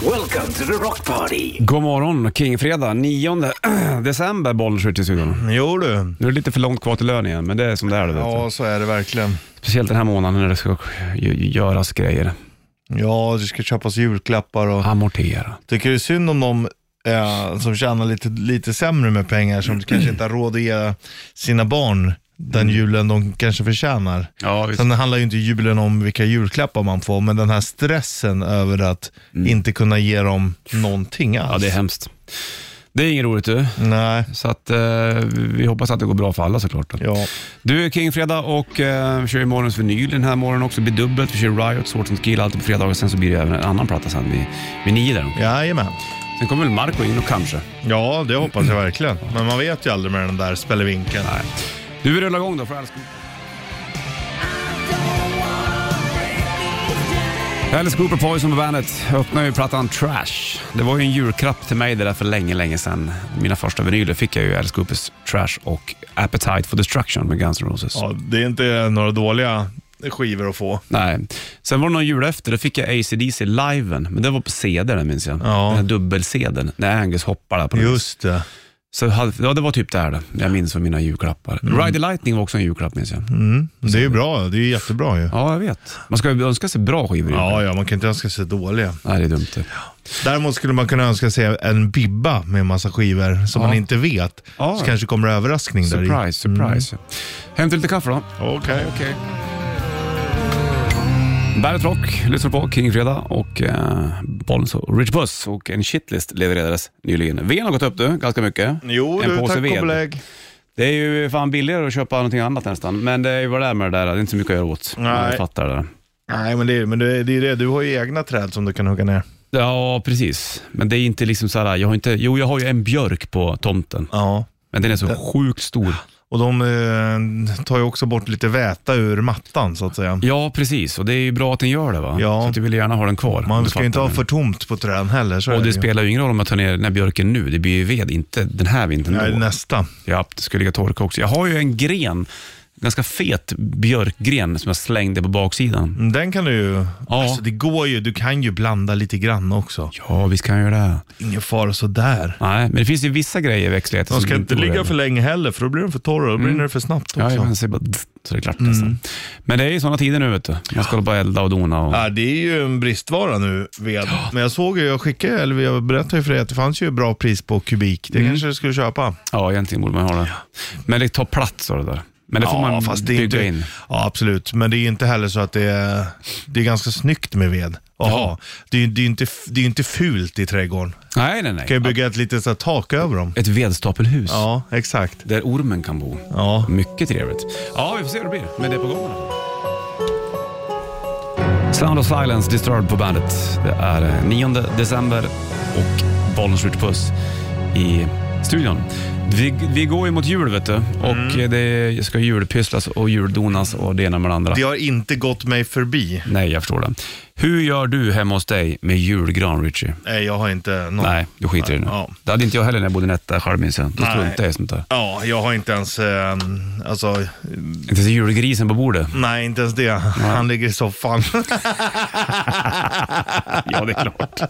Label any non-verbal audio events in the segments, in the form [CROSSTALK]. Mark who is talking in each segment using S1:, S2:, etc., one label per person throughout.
S1: to the rock party.
S2: God morgon, Kingfredag, 9 [CLEARS THROAT] december, Bollnäs i studion.
S3: Jo du.
S2: Nu är det lite för långt kvar till lön igen, men det är som det är. Du vet.
S3: Ja, så är det verkligen.
S2: Speciellt den här månaden när det ska gö- göras grejer.
S3: Ja, det ska köpas julklappar
S2: Ah.
S3: och
S2: Amortera.
S3: tycker det är synd om de eh, som tjänar lite, lite sämre med pengar som kanske inte har råd att ge sina barn den julen de kanske förtjänar.
S2: Ja,
S3: Sen handlar ju inte julen om vilka julklappar man får, men den här stressen över att inte kunna ge dem någonting alls.
S2: Ja, det är hemskt. Det är inget roligt du.
S3: Nej,
S2: Så att, eh, vi hoppas att det går bra för alla såklart. då.
S3: ja.
S2: Du, Kingfredag och eh, vi kör ju morgons vinyl den här morgonen också. Det blir dubbelt. Vi kör Riot, Swords and Skill alltid på fredagar. Sen så blir det även en annan platta sen vid, vid nio där.
S3: Jajamän.
S2: Sen kommer väl Marco in och kanske.
S3: Ja, det hoppas jag verkligen. Men man vet ju aldrig med den där spelevinkeln.
S2: Nej. Du, vi rullar igång då. För Alice Cooper. Alice Cooper Poison på bandet öppnar ju plattan Trash. Det var ju en julklapp till mig det där för länge, länge sedan. Mina första vinyler fick jag ju Alice Coopers Trash och Appetite for Destruction med Guns N' Roses.
S3: Ja, det är inte några dåliga skivor att få.
S2: Nej. Sen var det någon jul efter, då fick jag ACDC liven, men det var på CD där minns jag.
S3: Ja.
S2: Den här dubbel-CDn, när Angus hoppar där på den.
S3: Just det.
S2: Så hade, ja, det var typ där då. jag minns för mina julklappar.
S3: Mm.
S2: Ride the Lightning var också en julklapp minns jag.
S3: Det är ju bra, det är ju jättebra ju.
S2: Ja, jag vet. Man ska ju önska sig bra skivor. i julklapp.
S3: Ja, ja, man kan inte önska sig dåliga.
S2: Nej, det är dumt det.
S3: Däremot skulle man kunna önska sig en bibba med massa skivor som
S2: Ja.
S3: man inte vet.
S2: Ja.
S3: Så kanske kommer överraskning där i.
S2: Surprise, surprise.
S3: Mm.
S2: Hem till lite kaffe då.
S3: Okej, okej.
S2: Bandet Rock lyssnar på King Fredag och eh, Bollens och Rich Puss och en shitlist levererades nyligen. Veden har gått upp du, ganska mycket.
S3: Jo
S2: en
S3: du,
S2: påse
S3: tack
S2: ved.
S3: och belägg.
S2: Det är ju fan billigare att köpa någonting annat nästan, men det är ju vad det är med det där. Det är inte så mycket att göra åt.
S3: Nej.
S2: Jag fattar det. där.
S3: Nej, men det är men det, är- det är det. Du har ju egna träd som du kan hugga ner.
S2: Ja, precis. Men det är inte liksom så här, jag har inte, jo jag har ju en björk på tomten,
S3: Ja.
S2: men den är så sjukt stor.
S3: Och de eh, tar ju också bort lite väta ur mattan så att säga.
S2: Ja, precis. Och det är ju bra att den gör det va?
S3: Ja.
S2: Så att jag vill gärna ha den kvar. om
S3: Man
S2: du
S3: ska ju inte
S2: fattar
S3: ha
S2: mig.
S3: för tomt på träden heller. Så är
S2: Och
S3: det
S2: det
S3: ju.
S2: spelar ju ingen roll om jag tar ner den här björken nu. Det blir ju ved, inte den här vintern
S3: Nej,
S2: då.
S3: nästa.
S2: Ja, det skulle ligga torka också. Jag har ju en gren, ganska fet björkgren som jag slängde på baksidan.
S3: Mm, Den kan du ju...
S2: Ja.
S3: Alltså det går ju, du kan ju blanda lite grann också.
S2: Ja, visst kan jag göra det.
S3: Ingen fara sådär.
S2: Nej, men det finns ju vissa grejer i växtligheten
S3: De
S2: som
S3: ska inte
S2: går Mm.
S3: ligga
S2: över.
S3: för länge heller, för då blir de för torra. Då brinner det för snabbt också. Mm.
S2: Ja, men så, är det bara, så är det klart nästan. Men det är ju sådana tider nu vet du. Man ska hålla på och elda och dona. Och,
S3: Ja, det är ju en bristvara nu, ved. Men jag såg ju, jag skickade, eller jag berättade ju för dig att det fanns ju bra pris på kubik.
S2: Mm.
S3: Det kanske du skulle köpa.
S2: ja, egentligen borde man ha det. Men det tar plats och det där. Men det får man
S3: fast det är
S2: bygga
S3: inte,
S2: in.
S3: Ja, absolut. Men det är ju inte heller så att det är, det är ganska snyggt med ved. Aha. Det är ju det är ju inte, det är ju inte fult i trädgården.
S2: Nej, nej, nej.
S3: Du kan ju bygga ett litet så här, tak över dem.
S2: Ett vedstapelhus
S3: Ja, exakt.
S2: där ormen kan bo.
S3: Ja.
S2: Mycket trevligt. Ja, vi får se hur det blir. Men det är på gång. Sound of Silence, Disturbed på bandet. Det är eh, 9 december och bollen skjuter puss i studion. Vi, vi går ju mot jul vet du och
S3: Mm.
S2: eh, det ska julpysslas och juldonas och det ena med det andra.
S3: Det har inte gått mig förbi.
S2: Nej, jag förstår det. Hur gör du hemma hos dig med julgran, Richie?
S3: Nej, jag har inte någon.
S2: Nej, du skiter i det nu.
S3: Ja.
S2: Det hade inte jag heller när jag bodde i Netta själv minns jag. Då
S3: Nej.
S2: struntade jag i sånt där.
S3: Ja, jag har inte ens, eh, alltså,
S2: Inte så julgrisen på bordet.
S3: nej inte ens det. Han ligger
S2: [LAUGHS]
S3: i soffan.
S2: Ja, det är
S3: [LAUGHS]
S2: klart.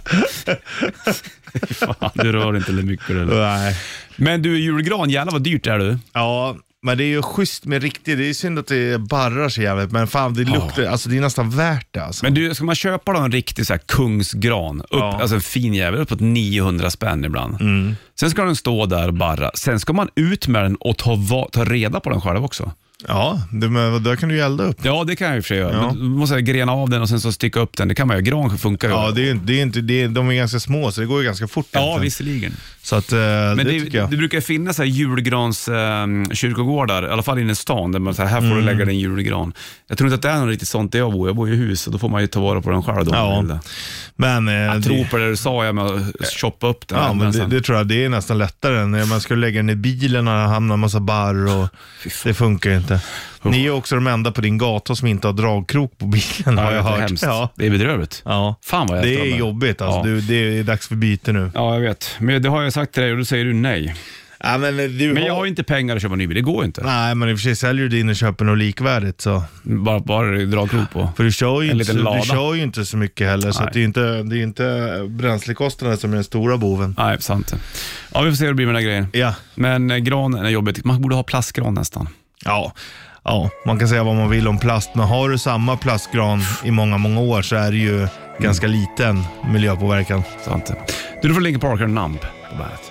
S2: Fan, du rör inte lika mycket eller?
S3: nej.
S2: Men du, julgran, jävlar vad dyrt det är du.
S3: Ja, men det är ju schysst med riktigt. Det är synd att det barrar så jävligt, men fan det luktar, alltså det är nästan värt det alltså.
S2: Men du, ska man köpa då en riktig så här kungsgran, upp,
S3: Ja. Mm.
S2: alltså en fin jävel, uppåt 900 spänn ibland. Sen ska den stå där och barra. Sen ska man ut med den och ta, va- ta reda på den själv också.
S3: Ja, det, men där kan du ju elda upp.
S2: Ja, det kan jag i och för sig göra. Men då måste jag grena av den och sen så sticka upp den. Det kan man göra. Gran funkar ju.
S3: Ja, det är, ju inte- det är inte, det är, de är ganska små så det går ju ganska fort.
S2: ja
S3: egentligen.
S2: visserligen.
S3: Så att, eh,
S2: Men
S3: det,
S2: det,
S3: tycker jag.
S2: det brukar finnas så här julgrans ehm, kyrkogårdar, i alla fall inne i stan, där man så här, här får
S3: Mm.
S2: du lägga din julgran. Jag tror inte att det är något riktigt sånt där jag bor. Jag bor ju i hus och då får man ju ta vara på den själv. Då, om man
S3: Ja,
S2: vill det.
S3: men, eh,
S2: Jag
S3: det-
S2: tror på det du sa, jag med att shoppa upp den.
S3: Ja,
S2: här,
S3: men det,
S2: sen-
S3: det tror jag. Det är nästan lättare än när man ska lägga den i bilen och det hamnar en massa
S2: [LAUGHS]
S3: barr och det funkar ju inte. Ni är också de enda på din gata som inte har dragkrok på bilen har
S2: ja,
S3: jag
S2: det är
S3: hört.
S2: hemskt.
S3: Ja,
S2: Det är bedrövligt.
S3: ja.
S2: Fan vad jag
S3: Det
S2: äter dem
S3: är
S2: där.
S3: jobbigt alltså.
S2: Ja.
S3: Du, det är dags för byte nu.
S2: Ja, jag vet. Men det har jag sagt till dig och då säger du nej.
S3: Nej, men eh, du
S2: Men jag
S3: har-
S2: har ju inte pengar att köpa en ny bil, det går inte.
S3: Nej, men i och för sig säljer du din och köper något likvärdigt så.
S2: Bara, bara dra krok på.
S3: För du kör ju,
S2: En
S3: inte,
S2: liten
S3: så- du
S2: lada.
S3: kör ju inte så mycket heller, så
S2: Nej.
S3: att det är inte, det är inte bränslekostnaden som är den stora boven.
S2: Nej, sant det. Ja, vi får se hur det blir med den här grejen.
S3: Ja,
S2: Men eh, granen är jobbigt. Man borde ha plastgran nästan.
S3: ja, ja, man kan säga vad man vill om plast, men har du samma plastgran i många, många år så är det ju
S2: Mm.
S3: ganska liten miljöpåverkan.
S2: Sant det. Du, du får Linkin Parker Numb på bandet.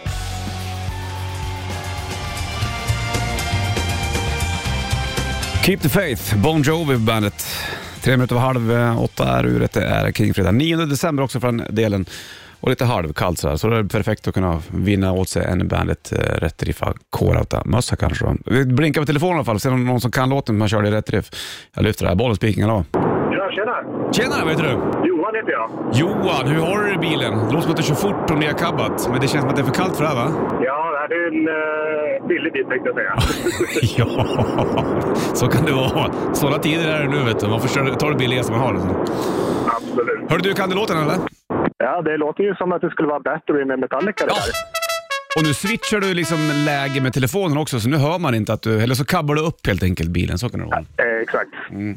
S2: Keep the Faith, Bon Jovi på bandet. Tre minuter över halv eh, åtta är uret. Det är Kingfredag. 9 december också för den delen. Och lite halvkallt sådär, så det är perfekt att kunna vinna åt sig en bandet eh, rätt riff mössa kanske. då. Vi blinkar på telefonen i alla fall, ser om någon som kan låten man körde i rätt riff. Jag lyfter det här, bollen speaking, hallå.
S1: Ja, tjena!
S2: Tjena, vad heter du?
S1: Johan heter jag.
S2: Johan, hur har du det i bilen? Det låter som att du kör fort om ni har cabbat, men det känns som att det är för kallt för det här
S1: [LAUGHS]
S2: va?
S1: Ja, det är en uh, billig bit tänkte jag [LAUGHS] säga.
S2: ja, [LAUGHS] så kan det vara. Sådana tider är det nu vet du. Man får köra, ta det billigaste man har. Liksom.
S1: Absolut.
S2: Hörru du, kan du låten eller?
S1: Ja, det låter ju som att det skulle vara Battery med Metallica det där.
S2: Och nu switchar du liksom läge med telefonen också, så nu hör man inte att du... Eller så kabbar du upp helt enkelt bilen, så kan det vara.
S1: Eh, exakt.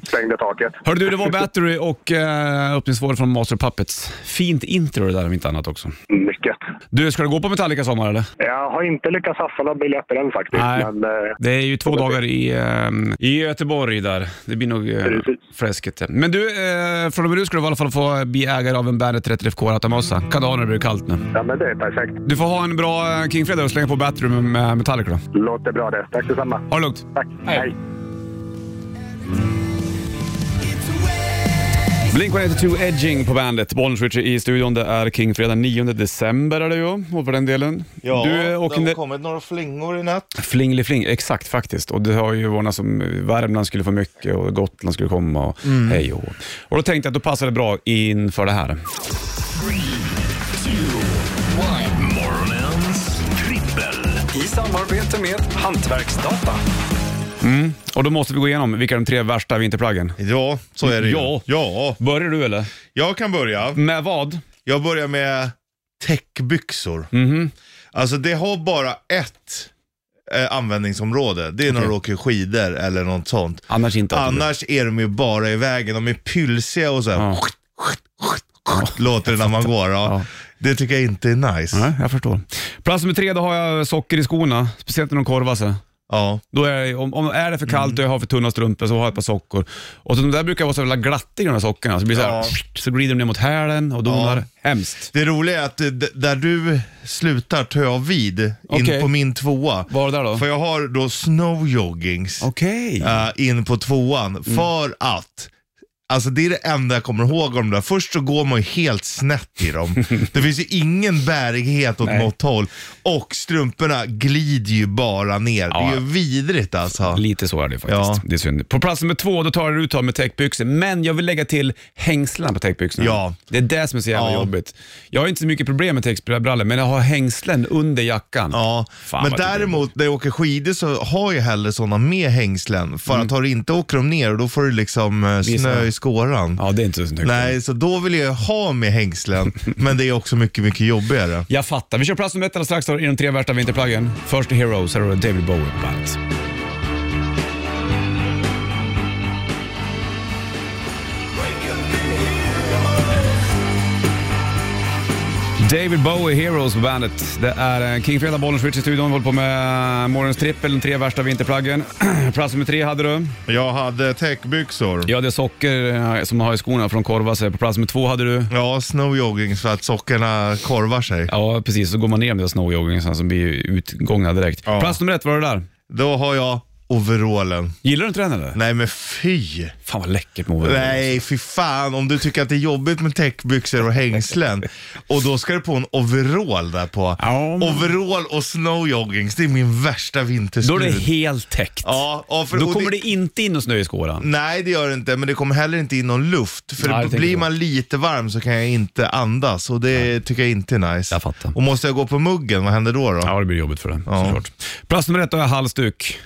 S1: Stängde taket.
S2: Hörru du, det var Battery och eh, öppningsspåret från Master of Puppets. Fint intro det där om inte annat också.
S1: Mycket.
S2: Du, ska du gå på Metallica i sommar eller?
S1: Jag har inte lyckats haffa några biljetter än faktiskt.
S2: Nej.
S1: Men, eh,
S2: Det är ju två dagar i, eh, i Göteborg där. Det blir nog eh,
S1: Precis.
S2: fräsket. ja. Men du, eh, från och med nu ska du i alla fall få bli ägare av en Bandet 30 FK Ratamössa. Kan du ha när det blir kallt nu.
S1: ja, men det är perfekt.
S2: Du får ha en bra eh, Kingfredag och slänga på Batroom med Metallica då.
S1: Låter bra det. Tack detsamma.
S2: Ha det lugnt.
S1: Tack.
S2: Hej. Blink-182 Edging på bandet. Bollnäs Richie i studion. Det är Kingfredag 9 december är det ju, och för den delen. du eh, åker ner...
S3: kommit några flingor i natt.
S2: Flingeli-fling, exakt faktiskt. Och det har ju varit som eh, Värmland skulle få mycket och Gotland skulle komma och hej och hå. Och då tänkte jag att då passar det bra inför det här.
S4: Morgonens trippel.
S5: I samarbete med Hantverksdata.
S2: Mm. Och då måste vi gå igenom vilka de tre värsta vinterplaggen.
S3: Ja, så är det ju.
S2: Ja.
S3: ja.
S2: Börjar du eller?
S3: Jag kan börja.
S2: Med vad?
S3: Jag börjar med täckbyxor.
S2: Mhm.
S3: Alltså det har bara ett eh, användningsområde. Det är när du åker skidor eller något sånt.
S2: Annars inte.
S3: Annars är de ju bara i vägen. De är pylsiga och så här.
S2: Ja.
S3: Låter det när man går. Ja.
S2: Ja.
S3: Det tycker jag inte är nice.
S2: Nej, jag förstår. Plats nummer tre, då har jag socker i skorna. Speciellt när de korvar sig.
S3: Ja.
S2: Då är, jag- om, om är det för kallt och jag har för tunna strumpor så har jag ett par sockor. Och så de där brukar vara så jävla glattiga de där sockorna. Så, blir det så, här, så glider de ner mot hälen och donar. Hemskt.
S3: Det roliga är att eh, d- där du slutar tar jag vid in
S2: Okej.
S3: på min tvåa.
S2: Vad var det där då?
S3: För jag har då snowjoggings.
S2: Okej.
S3: eh, in på
S2: Mm.
S3: tvåan. För att, alltså det är det enda jag kommer ihåg om det där. Först så går man ju helt snett i
S2: [LAUGHS]
S3: dem. det finns ju ingen bärighet åt
S2: Nej.
S3: något håll. Och strumporna glider ju bara ner. Det är ju vidrigt alltså.
S2: Lite så är det faktiskt.
S3: Ja.
S2: Det är synd. På plats nummer två, då tar jag ut av med täckbyxor. Men jag vill lägga till hängslen på täckbyxorna.
S3: Ja.
S2: Det är det som är så jävla
S3: Ja.
S2: jobbigt. Jag har inte så mycket problem med täckbrallor, men jag har hängslen under jackan.
S3: Ja,
S2: Fan,
S3: men
S2: vad det är
S3: däremot när jag åker skidor så har jag hellre sådana med hängslen. För
S2: Mm.
S3: att har du inte åker dem ner då får du liksom eh, snö i skåran.
S2: Ja, det är inte så snyggt.
S3: Nej, så då vill jag ha
S2: [LAUGHS]
S3: med hängslen. men det är också mycket, mycket jobbigare.
S2: Jag fattar. Vi kör plats nummer ett alldeles strax då, i de tre värsta vinterplaggen. Först Heroes, här har du David Bowie på bandet. David Bowie, Heroes på bandet. Det är eh, King Fredag, Bollnäs Rich i studion. Vi håller på med morgonens trippel, de tre värsta vinterplaggen. [CLEARS THROAT] Plats nummer tre hade du.
S3: Jag hade täckbyxor.
S2: Ja, det är socker eh, som man har i skorna från korva sig. På plats nummer två hade du.
S3: Ja, snowjogging så att sockorna korvar sig.
S2: Ja, precis. Så går man ner med snowjogging sen som blir utgångna direkt.
S3: Ja.
S2: Plats nummer ett, var det där?
S3: Då har jag overallen.
S2: Gillar du inte den eller?
S3: Nej men fy!
S2: Fan vad läckert med overall.
S3: Nej, fy fan. Om du tycker att det är jobbigt med täckbyxor och hängslen och då ska du på en overall där på.
S2: Ja, men-
S3: Overall och snowjoggings, det är min värsta vinterskrud.
S2: Då är det helt täckt.
S3: Ja, ja, för,
S2: Då
S3: och
S2: kommer det
S3: det... Mm.
S2: inte in någon snö i skåran.
S3: Nej, det gör det inte, men det kommer heller inte in någon luft. För
S2: Nej, jag tänker
S3: blir
S2: så.
S3: man lite varm så kan jag inte andas och det tycker jag inte är nice.
S2: Jag fattar.
S3: Och måste jag gå på muggen, vad händer då? då?
S2: Ja, det blir jobbigt för den
S3: Ja.
S2: såklart. Plats nummer ett har jag halsduk.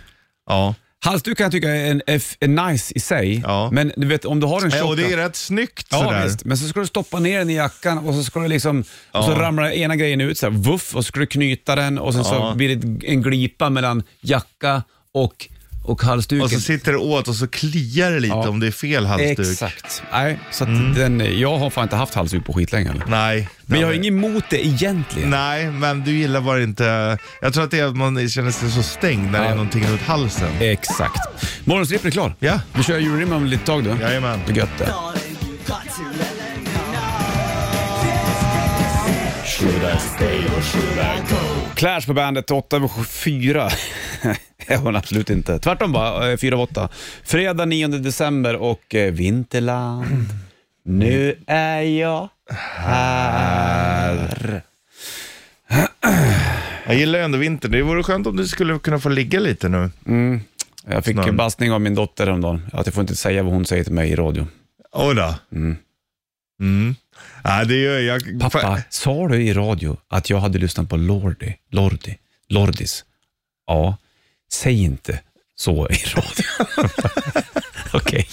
S3: ja.
S2: Halsduk kan jag tycka är, en, är, f- är nice i sig,
S3: Ja.
S2: men du vet om du har en
S3: Ja,
S2: tjock...
S3: och det är rätt snyggt
S2: Ja,
S3: sådär.
S2: visst. Men så ska du stoppa ner den i jackan och så ska du liksom, och så
S3: Ja.
S2: ramlar ena grejen ut så här, vuff, och så ska du knyta den och sen så
S3: Ja.
S2: blir det en glipa mellan jacka och, och halsduken.
S3: Och så sitter det åt och så kliar det lite
S2: Ja.
S3: om det är fel halsduk.
S2: Exakt. Nej, så att
S3: Mm.
S2: den, jag har fan inte haft halsduk på skitlänge. eller?
S3: Nej.
S2: Men jag har inget emot det egentligen.
S3: Nej, men du gillar bara inte... Jag tror att det är att man känner sig så stängd när det
S2: Ja.
S3: är någonting runt halsen.
S2: Exakt. Morgonsrippen är klar.
S3: Ja.
S2: Vi kör julrim om lite tag då.
S3: Jajamän.
S2: Det är gött det. Clash på bandet, 8 över [LAUGHS] 4. Det var hon absolut inte. Tvärtom bara, eh, 4 av 8. Fredag 9 december och eh, vinterland. Nu är jag här.
S3: Jag gillar ju ändå vintern. Det vore skönt om du skulle kunna få ligga lite nu.
S2: Jag fick
S3: Snön.
S2: en bastning av min dotter häromdagen. Att jag får inte säga vad hon säger till mig i radio.
S3: Oj då.
S2: Mm.
S3: Mm. Nej, det gör jag.
S2: Pappa, sa du i radio att jag hade lyssnat på Lordi? Lordi? Lordis? Ja. Säg inte så i
S3: [LAUGHS]
S2: radio. Okej.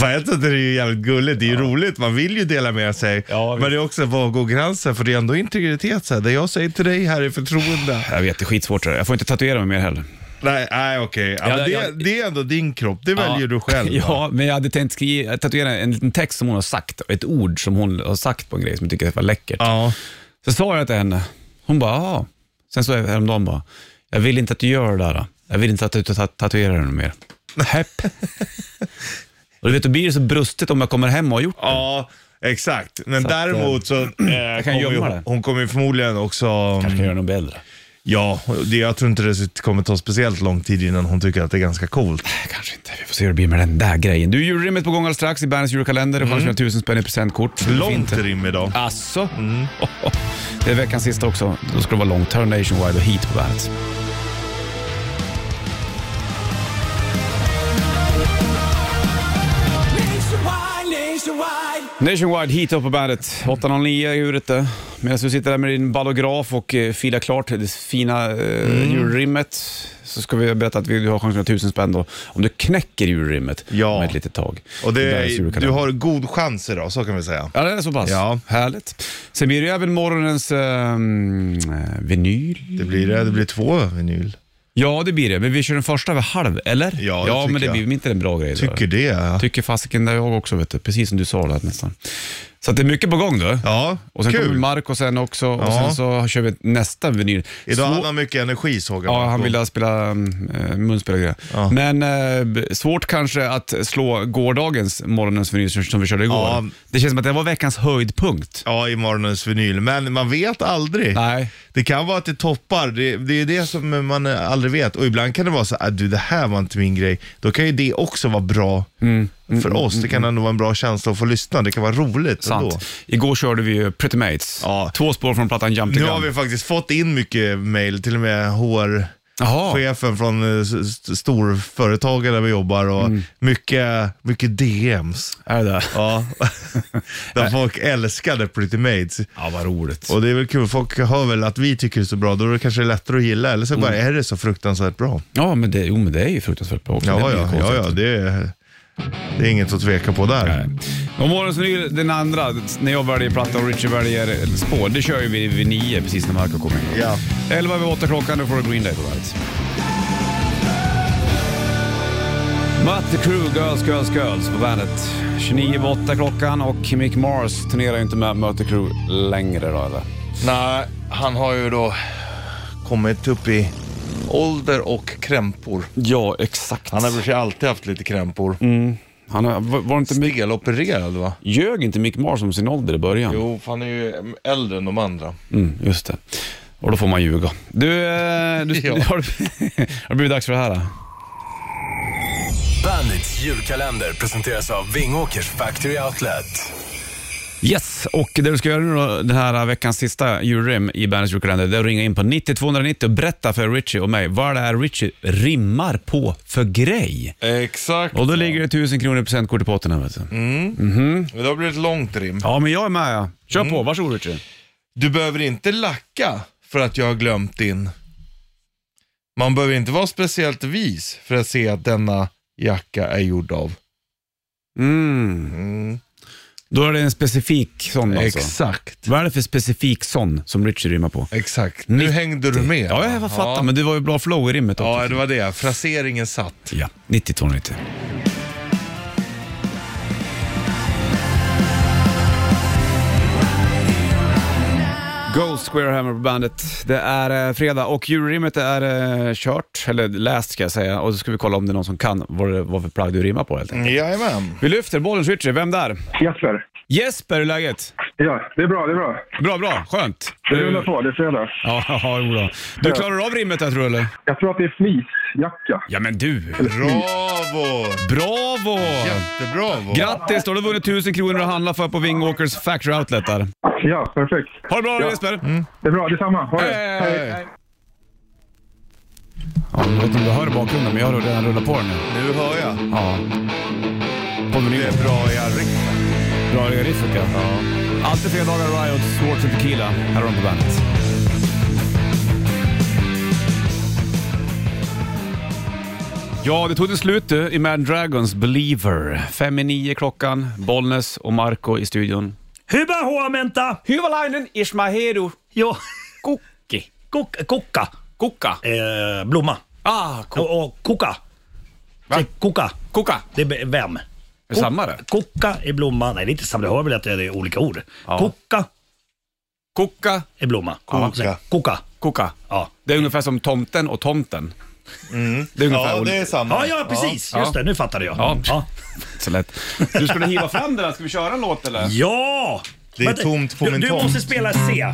S3: Fan, jag tycker det är ju jävligt gulligt. Det är ju roligt. Man vill ju dela med sig.
S2: Ja,
S3: men det är också, var går gränsen? För det är ändå integritet. Så här. Det jag säger till dig här är förtroende.
S2: Jag vet, det är skitsvårt. det där. Jag får inte tatuera mig mer heller.
S3: nej, nej okej. Ja,
S2: Ja,
S3: men det,
S2: jag-
S3: det är ändå din kropp. Det väljer du själv. va?
S2: [LAUGHS] Ja, men jag hade tänkt skriva, tatuera en liten text som hon har sagt, ett ord som hon har sagt på en grej som jag tycker var läckert.
S3: ja.
S2: Så sa jag till henne, hon bara, ja. Sen så häromdagen bara, jag vill inte att du gör det där. då. Jag vill inte att du tat- tatuerar dig mer. Häpp. Och du vet, då blir det så brustet om jag kommer hem och har gjort det.
S3: Ja, exakt. Men
S2: Så att,
S3: däremot så... Eh,
S2: kan
S3: kommer
S2: gömma
S3: ju,
S2: det.
S3: hon kommer ju förmodligen också...
S2: Kanske kan göra något bättre.
S3: Ja, det, jag tror inte det kommer ta speciellt lång tid innan hon tycker att det är ganska coolt.
S2: Kanske inte. Vi får se hur det blir med den där grejen. Du, julrimmet på gång alldeles strax i Bandets julkalender. Du får mm. tusen spänn i presentkort.
S3: Långt rim idag.
S2: Asså? [LAUGHS] Det är veckans sista också. Då ska det vara långt. Turn Nationwide och Heat på bandet. Nationwide Heat upp på bandet. 8.09 är uret det. Medan du sitter där med din ballograf och eh, filar klart det fina eh,
S3: Mm.
S2: julrimmet så ska vi berätta att vi, du har chansen att tusen spänn då, om du knäcker julrimmet
S3: Ja.
S2: om ett litet tag.
S3: Och det,
S2: Där ser
S3: är- du
S2: kalendern.
S3: har god chans idag, så kan vi säga.
S2: Ja, det är så pass.
S3: Ja.
S2: Härligt. Sen blir det ju även morgonens ehm, eh, vinyl.
S3: Det blir det. Det blir två vinyl.
S2: Ja, det blir det. Men vi kör den första över halv, eller?
S3: Ja, det
S2: ja men
S3: tycker
S2: det
S3: jag.
S2: blir väl inte en bra grej. då?
S3: Tycker det. ja.
S2: Tycker fasiken det jag också, vet du. precis som du sa där nästan. Så att det är mycket på gång då.
S3: Ja,
S2: Och sen kommer
S3: kul.
S2: Marco sen också och
S3: Ja.
S2: sen så kör vi nästa vinyl.
S3: Idag
S2: Svå-
S3: hade han mycket energi såg jag.
S2: Ja, han ville spela äh, munspel och grejer.
S3: Ja.
S2: Men eh, b- svårt kanske att slå gårdagens morgonens vinyl som som vi körde igår.
S3: Ja.
S2: Det känns som att det var veckans höjdpunkt.
S3: Ja, i morgonens vinyl. Men man vet aldrig.
S2: Nej.
S3: Det kan vara att det toppar. Det, det är det som man eh, aldrig vet. Och ibland kan det vara så att du det här var inte min grej. Då kan ju det också vara bra
S2: Mm.
S3: för oss. Det kan ändå vara en bra känsla att få lyssna. Det kan vara roligt ändå.
S2: Sant. Igår körde vi ju Pretty Mates.
S3: Ja.
S2: Två spår från plattan Jump the
S3: Nu
S2: Gun.
S3: har vi faktiskt fått in mycket mail, till och med HR
S2: Jaha.
S3: chefen från eh, s- s- storföretagen där vi jobbar och
S2: Mm.
S3: mycket, mycket
S2: [LAUGHS]
S3: DMs.
S2: Är det där?
S3: Ja. [LAUGHS] där folk älskade Pretty Maids.
S2: Ja, vad roligt.
S3: Och det är väl kul, folk hör väl att vi tycker det är så bra, då är det kanske lättare att gilla,
S2: Mm.
S3: eller så bara är det så fruktansvärt bra.
S2: Ja, men det, jo, men det är ju fruktansvärt bra också.
S3: Ja,
S2: Det blir ju
S3: ja,
S2: konstigt.
S3: ja, ja det, är, det är inget att tveka på där.
S2: Nej. Och morgonens vinyl, den andra, när jag väljer platta och Richie väljer spår, det kör ju vi vid nio precis när Marco kommer in.
S3: Ja.
S2: 11 över 8 klockan, då får du Green Day på bandet. Matt the Crew, Girls, Girls, Girls på bandet. 29 över 8 klockan och Mick Mars turnerar ju inte med Möt the Crew längre då eller?
S3: Nej, han har ju då kommit upp i ålder och krämpor.
S2: Ja, exakt.
S3: Han har väl för sig alltid haft lite krämpor.
S2: Mm. Han har, var, var inte Mick,
S3: Stelopererad va?
S2: ljög inte Mick Mars om sin ålder i början?
S3: Jo, för han är ju äldre än de andra.
S2: Mm, just det. Och då får man ljuga. Du, eh, du
S3: [LAUGHS] Ja.
S2: [LAUGHS] har, det- har det blivit dags för det här? Då?
S5: Bandits julkalender presenteras av Vingåkers Factory Outlet.
S2: Yes, och det du ska göra nu då, den här veckans sista julrim i Bandits julkalender, det är att ringa in på 90 och berätta för Richie och mig vad det är Richie rimmar på för grej.
S3: Exakt.
S2: Och då ligger det 1000 kronor i presentkort i potten här vet du.
S3: Mm. Då blir det ett långt rim.
S2: Ja, men jag är med ja. Kör på,
S3: Mm.
S2: varsågod Richie.
S3: Du behöver inte lacka för att jag har glömt din Man behöver inte vara speciellt vis för att se att denna jacka är gjord av.
S2: Mm.
S3: Mm.
S2: Då är det en specifik sån alltså.
S3: Exakt.
S2: Vad är det för specifik sån som Richie rimmar på?
S3: Exakt. Nu hängde du med.
S2: Ja, jag fattar, men det var ju bra flow i rimmet också.
S3: Ja, det var det. Fraseringen satt.
S2: Ja, 90 ton lite. Ghost Square Hammer på bandet. Det är eh, fredag och julrimmet är eh, kört, eller läst ska jag säga. Och så ska vi kolla om det är någon som kan vad, det- vad för plagg du rimmar på helt enkelt.
S3: Jajamän.
S2: Vi lyfter bollen Richie, vem där?
S1: Jesper.
S2: Jesper, hur är läget?
S1: Ja, det är bra, det är bra.
S2: Bra, bra, skönt.
S1: Det rullar på, det är fredag.
S2: Ja, [LAUGHS] ja, jo då. Du klarar av rimmet jag tror eller?
S1: Jag tror att det är fleecejacka.
S2: Ja men du,
S3: Bravo!
S2: bravo!
S3: Jättebravo.
S2: Grattis, då har du vunnit 1000 kronor att handla för på Vingwalkers Factory Outlet där.
S1: Ja, perfekt.
S2: Ha det bra då Jesper!
S1: Det är bra, detsamma. Ha det.
S2: Mm. Hej, hej, hej. Ja, jag vet inte om du hör i bakgrunden, men jag har redan rullat på den nu.
S3: Nu hör jag.
S2: Ja. På
S3: Det
S2: menyn.
S3: är bra i arvet.
S2: Bra riffet ja. Alltid fredagar, Riot, Swords and Tequila. Här har de på bandet. Ja, det tog det slut du i Mad Dragons Believer. Fem i nio klockan, Bollnäs och Marco i studion.
S4: Hyvä huomenta!
S2: Hyvalainen Ismahedu
S4: Joo,
S2: Kukki.
S4: kuk- kukka.
S2: Kukka.
S4: Eh, blomma.
S2: Ah, ku-
S4: Och, och kuka. Se, kuka.
S2: kukka.
S4: Det är be- vem?
S2: det samma det?
S4: Kuka är blomma. Nej, det är inte samma. Du hör väl att det är olika ord.
S2: Ja.
S4: Kuka
S2: Kukka,
S4: är blomma.
S3: Kuka.
S4: Ja. Kuka.
S2: kukka.
S4: Ja.
S2: Det är ungefär som tomten och tomten. Det är ungefär
S3: Ja, det är samma.
S4: Ja, ja, precis.
S2: Ja.
S4: Just det, nu fattade jag.
S2: Ja.
S4: ja.
S2: så lätt. Du skulle hiva fram den här. Ska vi köra en låt eller?
S4: Ja!
S3: Det är
S4: Vänta,
S3: tomt på
S4: du,
S3: min
S4: Du
S3: tomt.
S4: måste spela C.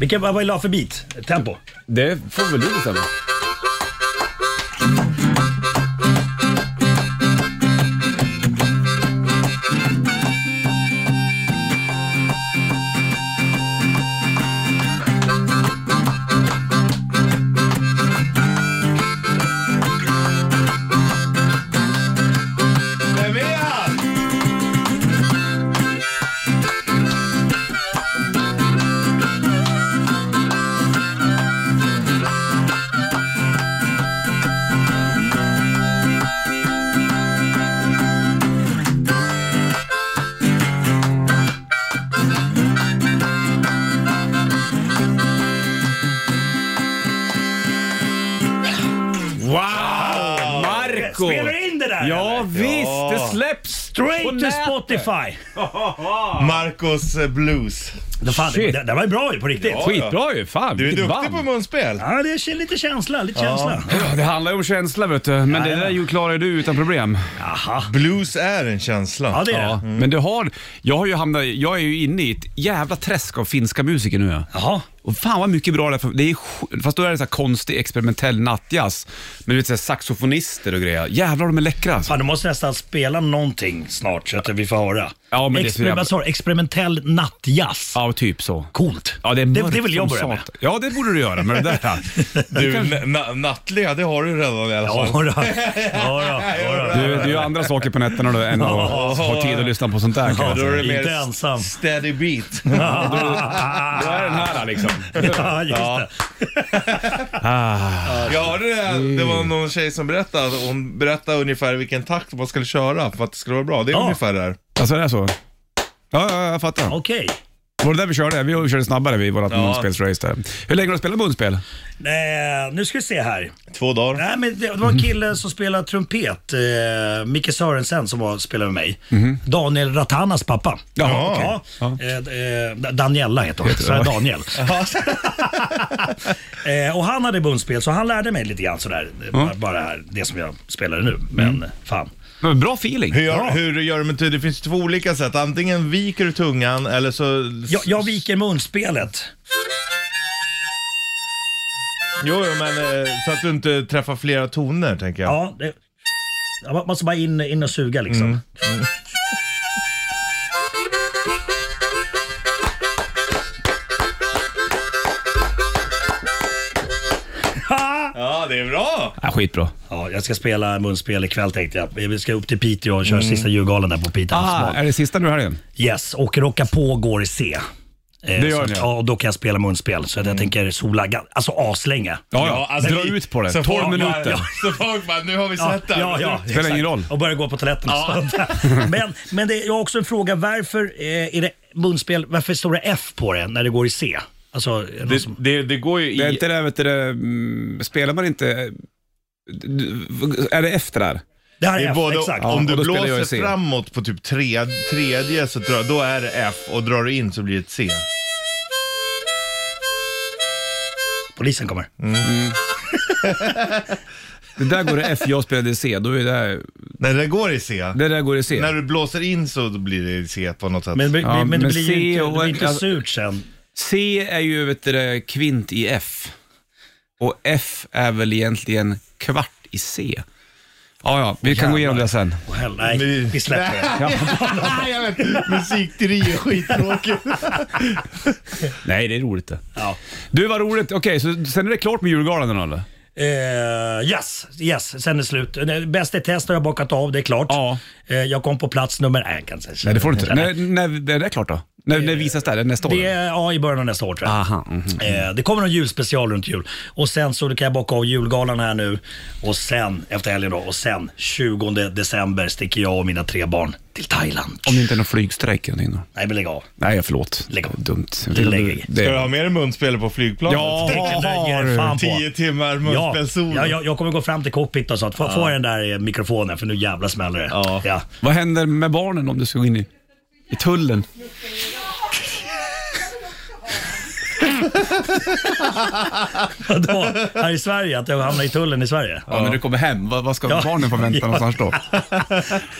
S4: Vilken, vad vad vill du ha för beat? Tempo?
S2: Det får väl du bestämma.
S3: Vem är han?
S2: Wow! Marco!
S4: Spelar du in det där?
S2: Ja
S4: eller?
S2: visst, det släpps på
S4: Straight to
S2: nätet.
S4: Spotify!
S3: Marcos eh, Blues.
S4: Det, fan,
S2: Shit.
S4: det, det var ju bra ju på riktigt.
S3: Ja.
S2: Skitbra ju, fan
S3: Du är
S2: vilket
S3: duktig på
S2: band.
S3: munspel.
S4: Ja, det är lite känsla, lite känsla.
S2: Ja, Det handlar ju om känsla vet du, men det där ju klarar du utan problem.
S4: Jaha.
S3: Blues är en känsla.
S4: Ja, det är
S2: Ja,
S4: det.
S2: Men du har, jag har ju hamnat, jag är ju inne i ett jävla träsk av finska musiker nu. ja.
S4: Jaha.
S2: Och fan vad mycket bra det är, för, det är sj- fast då är det så här konstig experimentell nattjazz. Men du vet så här, saxofonister och grejer. Jävlar de är läckra alltså.
S4: Fan, du måste nästan spela någonting snart så att vi får höra.
S2: Ja, men det är så
S4: Exper-
S2: jävla-
S4: vad sa du? experimentell nattjazz.
S2: Ja, typ så.
S4: Coolt.
S2: Ja, det, är
S4: det,
S2: mörkt
S4: det vill jag
S2: som
S4: börja med.
S2: satan. Ja, det borde du göra med det
S4: [LAUGHS]
S2: där.
S3: Du, na- na- nattliga, det har du redan i alla
S4: Ja,
S3: fall.
S4: då. Ja, då. Ja, då.
S2: Du, du gör andra saker på nätterna då, än att ha tid att lyssna på sånt där. kan
S4: Ja,
S2: jag
S3: Då är
S2: säga.
S3: det mer
S4: Alltså, Inte
S3: st-
S4: ensam. Alltså,
S3: steady
S4: [LAUGHS]
S3: beat.
S2: Då är den här liksom.
S4: Ja, just det.
S2: Ah.
S3: Jag hörde det, det var någon tjej som berättade, att hon berättade ungefär vilken takt man skulle köra för att det skulle vara bra. Det är
S4: Ja.
S3: ungefär där.
S2: Alltså det är så? Ja, ja, jag fattar.
S4: Okej.
S2: Var det där vi körde? Vi körde snabbare vid vårt
S3: Ja.
S2: munspelsrace där. Hur länge har du spelat munspel?
S4: Eh, nu ska vi se här.
S3: Två dagar.
S4: Nej, men det, det var en kille som spelade trumpet, eh, Micke Sörensen som var, spelade med mig. Daniel Ratanas pappa.
S2: Jaha,
S4: Mhm. ja. Eh, eh, Daniela heter hon, så här [LAUGHS] Daniel. eh, och han hade bundspel så han lärde mig lite grann sådär. Bara, bara det som jag spelar nu, men fan.
S2: Men bra feeling.
S3: Hur gör, hur gör du med ty- Det finns två olika sätt. Antingen viker du tungan eller så...
S4: Jag, jag viker munspelet.
S3: Jo, jo, men eh, så att du inte träffar flera toner tänker jag.
S4: Ja, det, ja, man måste bara in, in och suga liksom.
S2: Mm.
S3: Ja, det är bra.
S2: Ja, skitbra.
S4: [LAUGHS] Ja, jag ska spela munspel ikväll tänkte jag. Vi ska upp till Piteå och köra sista julgalan där på Piteå
S2: Mm. Ah,
S4: havsbad.
S2: är det sista nu i helgen?
S4: Yes, och Rocka på går i C. Eh,
S2: Det gör
S4: så,
S2: ni, ja. Mm.
S4: ja, och då kan jag spela munspel. Så att jag tänker sola ga- alltså aslänge.
S2: Ja, ja. Alltså,
S4: alltså,
S2: Dra ut på det. 12
S4: folk bara-
S2: minuter.
S4: ja.
S2: [LAUGHS]
S3: Så folk bara, nu har vi
S4: Ja,
S3: sett det.
S4: ja, ja,
S2: Spelar ingen
S4: exakt.
S2: roll.
S4: Och börja gå på toaletten. och sånt. [LAUGHS] men men det, jag har också en fråga. Varför eh, är det munspel, varför står det F på det när det går i C? Alltså, är det någon
S6: Det,
S4: som,
S6: det, det går ju
S2: Det är
S6: i...
S2: inte det, vet du, det, mm, spelar man inte... du- Är det efter där?
S4: det här är,
S3: Det är
S4: F,
S3: både,
S4: exakt.
S2: Ja,
S3: om du
S2: och då spelar jag i
S3: blåser
S2: C.
S3: framåt på typ tre, tredje, så drar, då är det F och drar du in så blir det ett C.
S4: Polisen kommer.
S2: Det där går i F, jag spelade C. Då är det, här,
S3: När det går i C,
S2: det där går i C.
S3: när du blåser in så blir det C på något sätt.
S4: Men, det blir-
S2: Ja,
S4: men det
S2: men
S4: blir ju
S2: C
S4: inte, det
S2: och-
S4: blir inte
S2: alltså-
S4: surt sen.
S2: C är ju vet du, det, kvint i F. Och F är väl egentligen kvart i C. Ja, ja, vi kan gå igenom det sen.
S4: Åh, hell- nej,
S3: Men-
S4: vi släpper det.
S2: [LAUGHS]
S3: Nej, jag vet. Musikteori är skittråkigt.
S2: Nej, det är roligt det.
S4: Ja.
S2: Du, vad roligt. Okej, så sen är det klart med julgranen eller?
S4: Eh, yes, yes, sen är det slut. Nej, Bäst i test har jag bakat av, det är klart.
S2: Ja.
S4: Eh, jag kom på plats nummer... Nej, jag kan inte säga.
S2: Nej, det får du inte. När, när, när är det klart då? När, när visas det? här? Nästa år?
S4: Det är, ja, i början av nästa år tror jag.
S2: Aha, mhm.
S4: Eh, det kommer en julspecial runt jul. Och sen så kan jag bocka av julgalan här nu. Och sen, efter helgen då, och sen 20 december sticker jag och mina tre barn till Thailand.
S2: Om det inte är någon flygstrejk eller någonting då?
S4: Nej, men lägg av.
S2: Nej, förlåt.
S4: Lägg av.
S2: Dumt. Jag vet inte om du-
S3: Ska du
S2: Det,
S3: ha med dig munspel på flygplanet?
S2: Ja.
S4: Det kan jag ge dig
S2: Har
S4: fan på.
S3: Tio timmar
S4: Ja,
S3: munspelssolo.
S4: ja, jag, jag kommer gå fram till cockpit och så att få, få den där eh, mikrofonen för nu jävla smäller det.
S3: Ja.
S4: Ja. [LAUGHS]
S2: vad händer med barnen om du ska gå in i, i tullen?
S4: Då, här i Sverige, att jag hamnar i tullen i Sverige.
S2: Ja, när du kommer hem, vad, vad ska
S4: Ja.
S2: barnen få vänta
S4: Ja.
S2: någonstans då?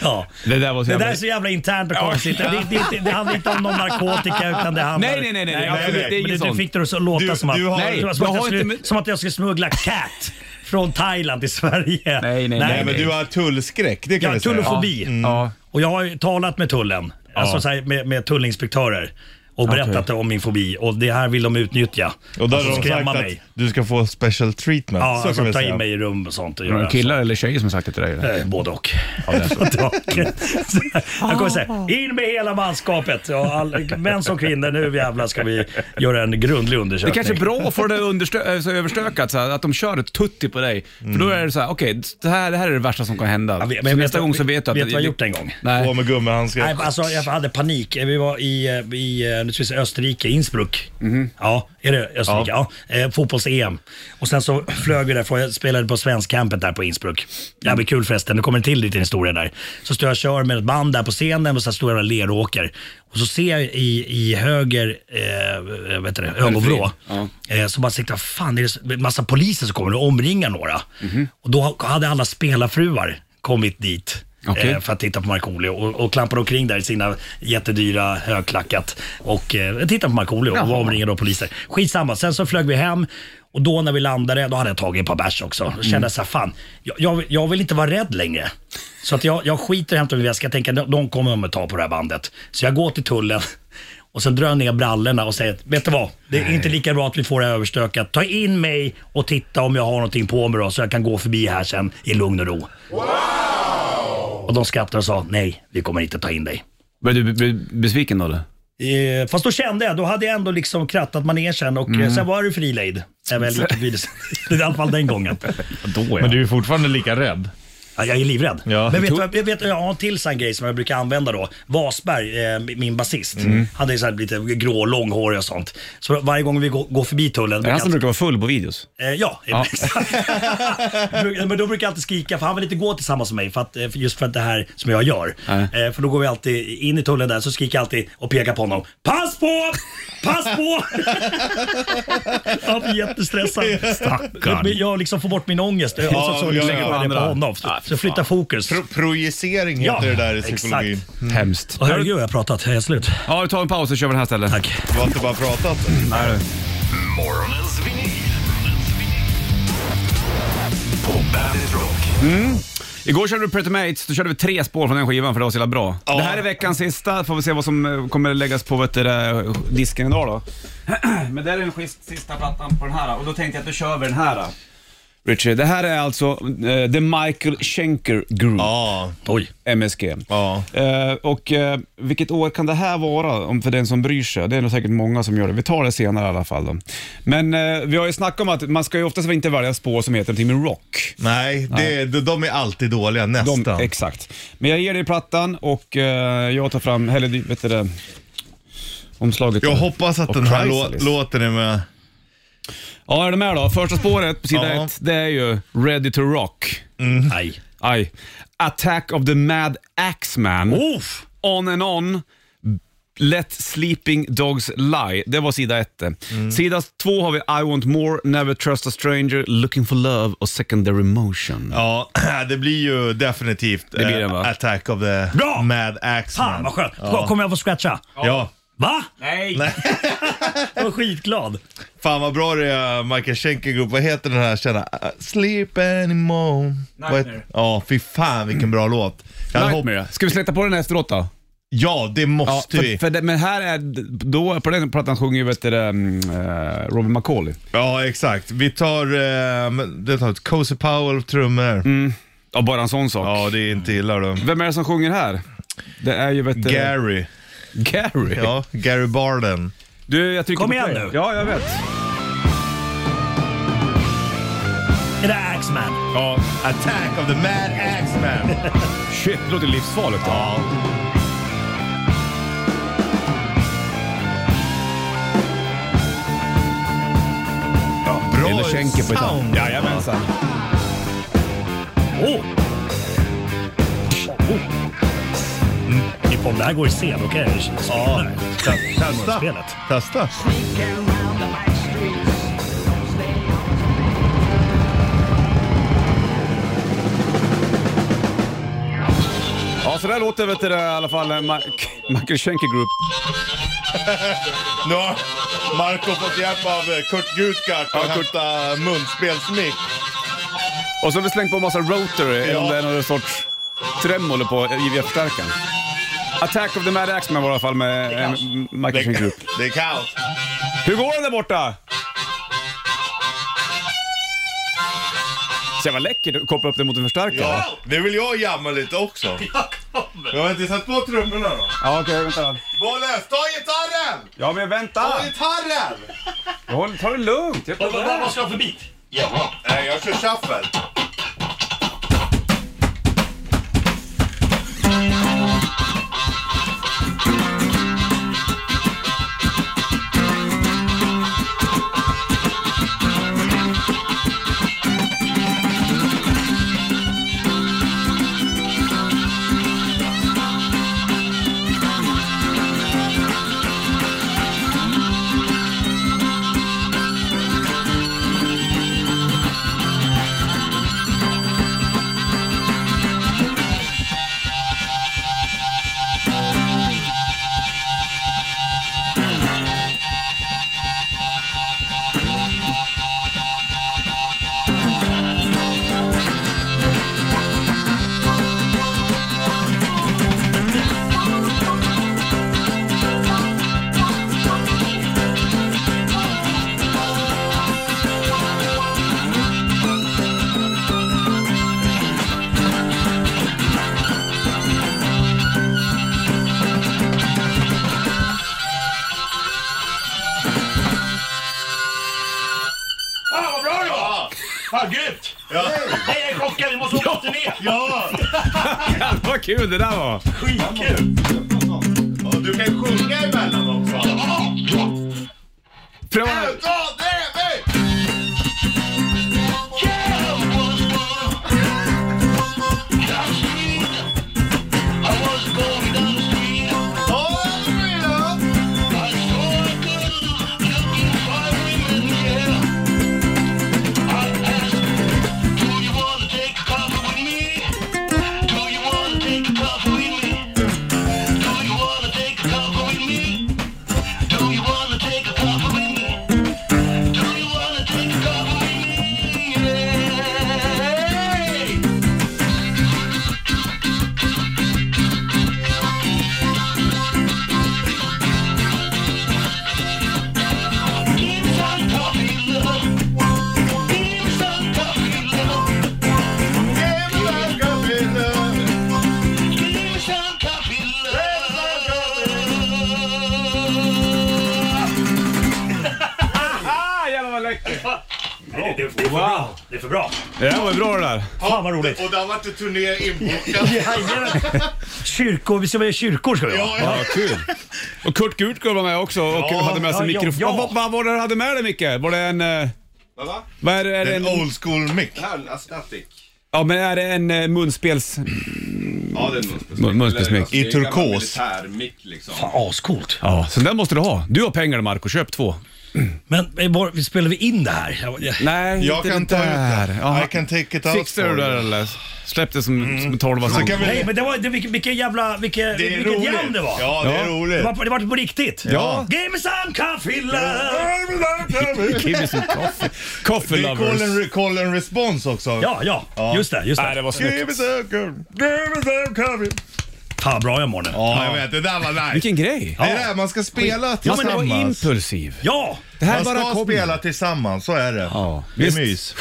S4: Ja.
S2: [LAUGHS] Det där var så
S4: Det
S2: jävla...
S4: där är så jävla internt och konstigt. Det, det, det, det handlar inte om någon narkotika utan det handlar...
S2: Nej, nej, nej, nej,
S4: men
S2: absolut, det är
S4: men
S2: inget
S4: Du
S2: sånt.
S4: fick det att så- låta
S3: Du-
S4: som att...
S3: du har-
S2: Nej,
S4: som, att
S2: jag har
S4: jag skulle,
S2: inte med-
S4: som att jag skulle smuggla cat från Thailand till Sverige.
S2: nej, nej.
S3: Nej, men du har tullskräck, det kan
S4: Ja,
S3: vi säga.
S4: tullofobi.
S2: Ja.
S4: Och jag har ju talat med tullen, alltså så här, med, med tullinspektörer och berättat om min fobi och det här vill de utnyttja.
S3: Och då har
S4: alltså,
S3: de sagt att du ska få special treatment.
S4: Ja,
S3: så kan
S4: alltså,
S3: vi
S4: ta
S3: säga.
S4: in mig i rum och sånt. Och
S2: Är det
S4: göra
S2: killar eller tjejer som sagt det till dig? eller?
S4: Eh, Både och. [LAUGHS] Både och.
S2: Mm.
S4: Så här, Jag kommer säga, in med hela manskapet. Ja, all, män som kvinnor, nu jävlar ska vi göra en grundlig
S2: Det
S4: undersökning.
S2: kanske är bra för det understö- äh, så överstökat, så här, att de kör ett tutti på dig. För då är det så här, okej, det, här, det här är det värsta som kan hända.
S4: Ja, vet-
S2: så
S4: men
S2: nästa
S4: vet-
S2: gång så vet du att...
S4: Vet du vad jag gjort en gång?
S2: Nej.
S3: Och med gummihandskar.
S4: Nej, alltså jag hade panik. Vi var i, eh, i eh, nu ska vi säga Österrike, Innsbruck. Ja, är det Österrike? Ja. Eh, Fotbolls-EM. Och sen så flög vi därifrån. Jag spelade på svenskkampen där på Innsbruck. Det blir kul förresten. Det kommer en till liten historia där. Så står jag och kör med ett band där på scenen och så står jag och leråker. Och så ser jag i, i höger eh, vet du det, ögonvrå, eh, så bara tänkte jag, fan det är så- massa poliser som kommer och omringar några. Och då hade alla spelarfruar kommit dit.
S2: Okej.
S4: Eh, för att titta på Markoolio och, och klampade omkring där i sina jättedyra högklackat och eh, tittade på Markoolio och var omringad av poliser. Skitsamma, sen så flög vi hem och då när vi landade, då hade jag tagit ett par bärs också. Då kände jag så här, fan, jag, jag, jag vill inte vara rädd längre. Så att jag, jag skiter i att hämta min väska, jag tänker de, de kommer om ett tag på det här bandet. Så jag går till tullen [LAUGHS] och sen drar jag ner brallorna och säger, vet du vad? Det är inte lika bra att vi får det här överstökat. Ta in mig och titta om jag har någonting på mig då, så jag kan gå förbi här sen i lugn och ro. Och de skrattade och sa nej, vi kommer inte ta in dig.
S2: Blev du be- be- besviken då eller?
S4: Eh, fast då kände jag, då hade jag ändå liksom krattat manegen och
S2: Mm.
S4: eh, sen var det frilejd. Jag väl
S2: [LAUGHS]
S4: gick förbi det, I alla fall den gången.
S2: Då
S3: Men du är fortfarande lika rädd.
S4: Ja, jag är livrädd.
S3: Ja.
S4: Men vet du vad- jag, vet, jag har en till sån grej som jag brukar använda då. Wasberg, eh, min basist,
S2: Mm.
S4: han är så här lite grå, långhårig och sånt. Så varje gång vi går, går förbi tullen
S2: Det är
S4: brukar
S2: han som
S4: jag-
S2: brukar vara full på videos.
S4: Eh, ja, [LAUGHS] exakt. Men då brukar jag alltid skrika, för han vill inte gå tillsammans med mig, för att, eh, för- just för att det här som jag gör.
S2: Nej.
S4: Eh, För då går vi alltid in i tullen där, så skriker jag alltid och pekar på honom. Pass på! Pass på! han blir jättestressad.
S2: Stackarn.
S4: Men Jag liksom får bort min ångest eh, och så,
S3: Ja,
S4: så
S3: ja, ja.
S4: lägger jag det på honom. Så, så flyttar fokus.
S3: Pro projicering heter
S4: Ja,
S3: det där i
S4: exakt.
S3: psykologin.
S2: Hemskt.
S4: Och herregud, jag har pratat. Jag är slut.
S2: Ja, vi tar en paus och kör vi den här stället.
S4: Tack.
S3: Du har inte bara pratat.
S5: Morgonens vinyl. På Bandit Rock.
S2: Igår körde du Pretty Mates, då körde vi tre spår från den skivan för det var så jävla bra. Det här är veckans sista, får vi se vad som eh, kommer läggas på vet du, det, disken [CLEARS THROAT] idag då. Men det är den schist- sista plattan på den här och då tänkte jag att då kör vi den här. Richie, det här är alltså eh, The Michael Schenker Group,
S3: Ja,
S4: Oj.
S2: MSG.
S3: ja.
S2: Eh, och eh, vilket år kan det här vara om för den som bryr sig? Det är nog säkert många som gör det. Vi tar det senare i alla fall. Då. Men eh, vi har ju snackat om att man ska ju oftast inte välja spår som heter någonting med rock.
S3: Nej, det, de, de är alltid dåliga, nästan.
S2: De, exakt. Men jag ger dig plattan och eh, jag tar fram, eller du, vet du det, omslaget.
S3: Jag
S2: där.
S3: hoppas att
S2: Och
S3: den här lå-
S2: Chrysalis.
S3: låten är med.
S2: Ja, är du med då? Första spåret på sida
S3: Ja.
S2: ett, det är ju Ready to Rock.
S4: Nej.
S2: Aj. Attack of the Mad Axeman.
S3: Oh!
S4: Oof.
S2: On and on. Let sleeping dogs lie. Det var sida ett.
S3: Mm.
S2: Sida två har vi I want more, never trust a stranger, looking for love och secondary motion.
S3: Ja, [CLEARS THROAT] det blir ju definitivt
S2: Det blir
S3: eh,
S2: den, va?
S3: Attack of the
S4: Bra!
S3: Mad Axeman.
S4: Fan vad skönt.
S3: Ja.
S4: Kommer jag få scratcha?
S3: ja.
S4: Va?
S2: Nej!
S4: [LAUGHS] Jag var skitglad.
S3: Fan vad bra det är, Michael Schenker Group. Vad heter den här kända? Uh, Sleep anymore. Vad heter-
S2: Nightmare.
S3: Ja, fy fan vilken bra låt. Jag hade hopp-
S2: Nightmare. Ska vi släppa på den efteråt då?
S3: Ja, det måste
S2: för,
S3: vi.
S2: för det, men här är, då på den plattan sjunger ju vet du, det, mm, eh, Robin McCauley.
S3: Ja, exakt. Vi tar, uh, det tar ett Cozy Powell trummor.
S2: Mm. Ja, bara en sån sak.
S3: Ja, det är inte illa då.
S2: Vem är det som sjunger här? Det är ju vet du,
S3: Gary.
S2: Gary.
S3: Ja, Gary Barden.
S2: Du, jag tycker
S4: Kom
S2: på
S4: igen
S2: play.
S4: nu.
S2: Ja, jag vet.
S4: Är det Axman?
S2: Ja.
S3: Attack of the Mad Axeman.
S2: Shit, det låter livsfarligt.
S3: ja. Bra
S2: Eller skänker på gitarr.
S3: sound.
S2: Jajamensan.
S4: Åh! Oh. Mm. Om det här går i scen, då kan jag ju spela det.
S3: Testa.
S4: Spelet.
S3: Testa.
S2: Ja, så där låter vet du, det, i alla fall eh, Ma- Michael Schenker Group.
S3: Nu har Marco fått hjälp av eh, Kurt Gutgart att
S2: Ja, Kurt.
S3: hämta munspelsmick.
S2: Och så har vi slängt på en massa rotary, eller om
S3: Ja.
S2: det är någon sorts tremolo på IVF-förstärkaren. Attack of the Mad Axeman var i alla fall med eh, M- Michael Schenker Group.
S3: det är kaos.
S2: Hur går det där borta? Så jävla läckert att koppla upp det mot en förstärkare.
S3: Ja, det vill jag jamma lite också. Jag har inte satt på trummorna då.
S2: Ja, okej, vänta.
S3: Bollnäs, ta gitarren!
S2: Ja, men vänta!
S3: Ta gitarren!
S2: Håll, ta det lugnt! Jag [LAUGHS]
S4: Vad ska jag ha för bit?
S3: Nej, Eh, jag kör shuffle.
S6: Fan vad bra det var! Fan grymt!
S3: Ja.
S6: Nej jag är chockad, vi måste åka på turné!
S3: Ja!
S2: Vad kul det där var!
S6: Skitkul!
S3: Och du kan sjunga emellan också.
S2: Pröva
S3: En, två, tre, fyr! Ja, det blir det.
S6: Do you wanna take a coffee with me?
S2: Ah,
S4: det, det är för bra. Det är för bra.
S2: Ja, vad bra det där.
S4: Fan vad roligt.
S3: Och där vart det turné inbokad.
S4: Jajamän. Kyrkor, vi ska vara i kyrkor ska vi vara.
S2: Ja, kul. Och Kurt Gurtgård var med också och
S4: Ja,
S2: hade med sig
S4: ja,
S2: mikrofon.
S4: ja.
S2: Vad- Vad, vad var det du hade med dig Micke? Var det en... eh,
S3: va?
S2: Vad är det? Är det
S3: En
S2: en,
S3: old school mick.
S2: ja, men är det en eh, munspels...
S7: Ja, det är en munspelsmick.
S2: Mun- munspelsmick.
S7: Eller, alltså, det är
S3: I
S7: en gammal
S3: turkos.
S7: Militärmick liksom.
S4: Fan, Ascoolt.
S2: Ja, så den måste du ha. Du har pengar Marco, köp två.
S4: Men eh, var, spelar vi in det här? Jag- jag-
S2: Nej,
S3: Jag
S2: inte
S3: kan
S2: det
S3: ta ut
S2: där.
S3: det.
S2: Ja.
S3: I can take it out
S2: Fixar du
S3: for
S2: det
S3: you. Mm.
S2: där eller? Släpp det som, som en tolva
S3: Så kan vi-
S4: Nej men det var, det, vilken, vilken jävla, vilken,
S3: Det är
S4: vilket jam
S3: roligt.
S4: det var.
S3: Ja, det är
S2: Ja.
S4: Det
S3: roligt.
S4: var, på- det var på riktigt.
S2: Ja.
S4: Give me some coffee love.
S2: Give me some coffee. Coffee
S3: Det är call
S2: lovers.
S3: and, call and response också.
S4: Ja, ja,
S3: Ja.
S4: Just det, just
S2: Nej, det
S4: det.
S2: var
S3: Give me
S2: snyggt.
S3: some coffee. Give me some coffee.
S4: Fan bra jag mår nu.
S3: Ja, jag vet. Det där var nice.
S2: Vilken grej.
S3: Det är det, man ska spela
S2: Man ska vara
S3: tillsammans.
S2: impulsiv.
S4: Ja!
S2: Det här
S3: Man
S2: bara
S3: ska
S2: kommer.
S3: spela tillsammans, så är det.
S2: Ja,
S3: Det
S2: visst.
S3: är mys.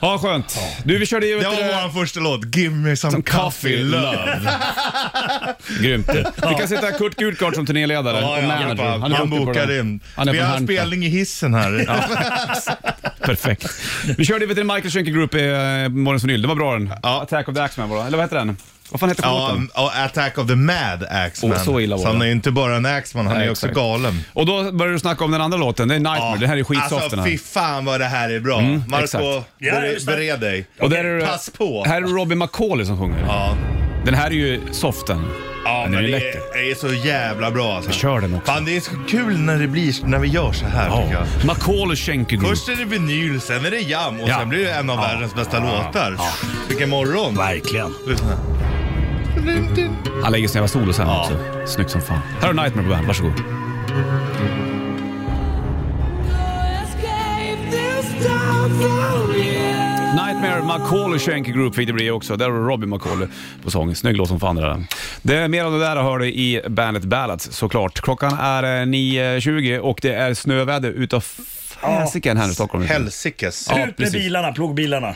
S2: Ja, skönt. Du, vi körde ju...
S3: Det
S2: vet du,
S3: var vår första låt, Give me some,
S2: Some
S3: coffee,
S2: coffee
S3: love.
S2: Grymt Vi kan sätta Kurt Gudgard som turnéledare
S3: Ja,
S2: och
S3: ja,
S2: manager.
S3: hjälpa.
S2: är
S3: han
S2: duktig på det
S3: bokar
S2: där.
S3: in.
S2: Han är
S3: Vi
S2: på
S3: har
S2: Halmstad.
S3: spelning i hissen här.
S2: [LAUGHS] Perfekt. Vi körde vet du, Michael Schenker Group i eh, Morgons vinyl. Det var bra den.
S3: Ja.
S2: Attack of the Axeman var det. Eller vad heter den? Vad fan heter
S3: Ja,
S2: låten?
S3: och Attack of the Mad Axeman.
S2: Åh, så illa var
S3: så han
S2: det.
S3: är ju inte bara en Axeman, han
S2: Nej,
S3: är också
S2: exakt.
S3: galen.
S2: Och då började du snacka om den andra låten. Det är Nightmare. Det här är skitsoft den
S3: Alltså
S2: här. Mm,
S3: fy fan vad det här är bra.
S2: exakt.
S3: Marco,
S4: Ja,
S3: bere-
S4: just det.
S3: bered dig.
S2: Och där är det,
S3: Pass på.
S2: Här är det Robbie McCauley som sjunger.
S3: Ja,
S2: Den här är ju soften.
S3: ja
S2: Den är
S3: men
S2: ju
S3: det
S2: läcker.
S3: är, är så jävla bra alltså.
S2: Kör den också.
S3: Fan det är så kul när det blir, när vi gör så här tycker jag.
S2: McCauley Schenker Group.
S3: Först är det vinyl, sen är det jam och
S2: Ja.
S3: sen blir det en av
S2: Ja.
S3: världens bästa låtar. Vilken morgon.
S4: Verkligen.
S3: Lyssna.
S2: Han lägger sin jävla solo sen också. Snyggt som fan. Här har du Nightmare på bandet. Varsågod. Nightmare McCauley Schenker Group fick det bli också. Där har du Robbie McCauley på sång. Snygg låt som fan det där. Det är mer om det där hör du i Bandet Ballads såklart. Klockan är eh, 9.20 och det är snöväder utav fasiken här nu i Stockholm.
S3: Helsikes.
S2: Ja,
S4: Ut med
S2: precis.
S4: bilarna, plogbilarna.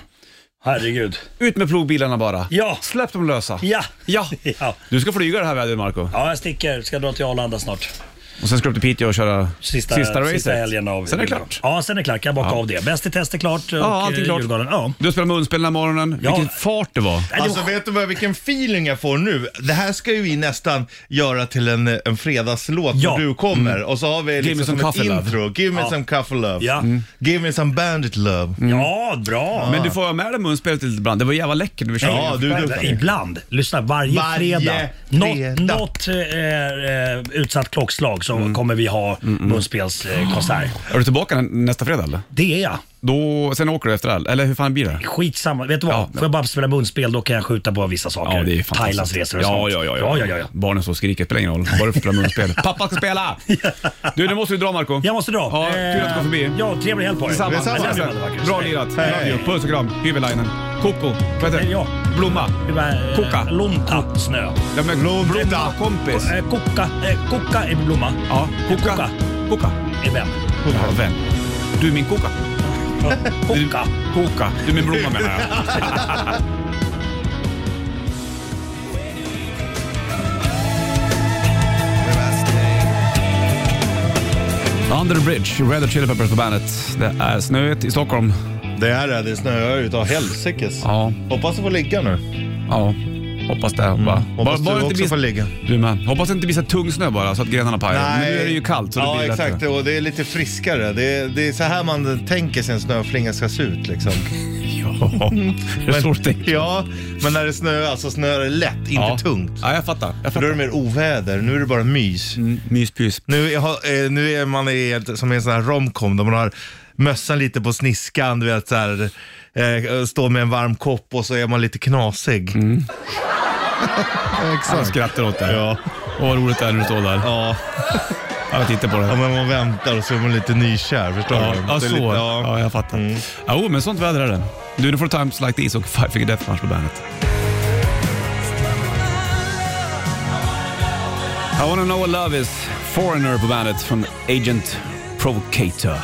S4: Herregud.
S2: Ut med plogbilarna bara.
S4: Ja.
S2: Släpp dem lösa.
S4: Ja.
S2: Ja.
S4: [LAUGHS] Ja.
S2: Du ska flyga det här vädret Marco
S4: Ja, jag sticker. Ska dra till Arlanda snart.
S2: och sen ska du upp till Piteå och köra
S4: Sista,
S2: sista racet.
S4: sista helgen av
S2: Sen är det
S4: julen.
S2: klart.
S4: Ja, sen är det klart. Kan jag bocka av det. Bäst i test är klart. och,
S2: Ja, allting
S4: eh,
S2: klart.
S4: Djurgården. Ja.
S2: Du spelar munspel den här morgonen.
S4: Ja.
S2: Vilken fart det var.
S4: Nej, det
S3: Alltså
S4: var-
S3: vet du vad, vilken feeling jag får nu? Det här ska ju vi nästan göra till en, en fredagslåt
S4: Ja.
S3: när du kommer. Och så har vi
S2: Mm. me
S3: liksom
S2: some
S3: som ett
S2: coffee love.
S3: intro. Give me
S4: Ja.
S3: some coffee love. Mm.
S4: Ja.
S3: Give me some bandit love.
S4: ja,
S2: Mm.
S4: bra.
S2: Men du får ha med dig munspelet lite ibland. Det var jävla läckert när vi körde.
S3: Ja,
S2: igenom.
S3: du är duktig.
S4: Ibland. Lyssna, varje,
S3: Varje
S4: fredag.
S3: fredag.
S4: Något, något eh, eh, utsatt klockslag så
S2: Mm.
S4: kommer vi ha munspelskonsert.
S2: Är du tillbaka nä- nästa fredag eller?
S4: Det är jag.
S2: Då, sen åker du efter det här, eller hur fan blir det?
S4: Skitsamma. Vet du vad?
S2: Ja.
S4: Får jag bara spela munspel då kan jag skjuta på vissa saker. Thailandsresor och
S2: ja,
S4: sånt.
S2: ja, ja, ja.
S4: ja, ja, ja.
S2: Barnen så skriker, spelar ingen roll. Bara du får spela
S4: [LAUGHS]
S2: munspel. Pappa ska spela! Du, nu måste du dra Marco
S4: Jag måste dra. Eh,
S2: Ja, kul att du kom förbi.
S4: Ja, trevlig helg på er.
S2: Detsamma.
S3: Detsamma.
S2: Vi ses sen. Bra lirat. Radio. Puss och kram. Hyvälainen. Koko. Vad heter
S4: Eh, ja.
S2: Blomma. Koka.
S4: Koka. Lunta eh, snö.
S2: Ja, men Blomma kompis.
S4: Eh, Koka, eh, koka är blomma.
S2: Ja, koka.
S4: Koka.
S2: Koka.
S4: Är vem?
S2: Ja, vän. Du är min koka.
S4: Ja, Koka.
S2: Koka. Du är min blomma menar jag. [LAUGHS] Under the Bridge, Red Hot Chili Peppers på bandet. Det är snöigt i Stockholm.
S3: Det här är det snöar utav helsikes.
S2: Ja,
S3: Hoppas du får ligga nu.
S2: ja. Mm. Hoppas det. Bara,
S3: Hoppas
S2: bara
S3: du
S2: det
S3: också
S2: blir-
S3: får ligga.
S2: Du med. Hoppas det inte blir så tung snö bara så att grenarna pajar. Men nu är det ju kallt så det
S3: Ja,
S2: blir lättare.
S3: exakt.
S2: [LAUGHS]
S3: Och det är lite friskare. Det är, det är så här man tänker sig en snöflinga ska se ut
S2: [LAUGHS]
S3: liksom.
S2: Ja, det är svårt tänkt.
S3: Ja, men när det snöar så snöar det lätt, inte
S2: Ja.
S3: tungt.
S2: Ja, jag fattar. Jag
S3: För då är
S2: fattar.
S3: det mer oväder, nu är det bara mys.
S2: Mm, Myspys.
S3: Nu, är- ha- eh, nu är man i, ett- som i en sån här romcom där man har mössan lite på sniskan, du vet så här, eh, står med en varm kopp och så är man lite knasig.
S2: Mm. Han
S3: Exakt.
S2: skrattar åt det.
S3: Ja.
S2: Åh, vad roligt det är när du står där.
S3: Ja.
S2: Ja, Jag tittar på
S3: ja,
S2: det.
S3: men man väntar och så är man lite nykär, förstår
S2: Ja,
S3: du?
S2: ja
S3: Det
S2: så.
S3: är lite- Mm.
S2: Ja, jag fattar. Ja, oh, men sånt väder är det. Du, nu får du Times Like These och Five Finger Death Punch på bandet. I wanna know what love is. Foreigner på bandet från Agent Provocator.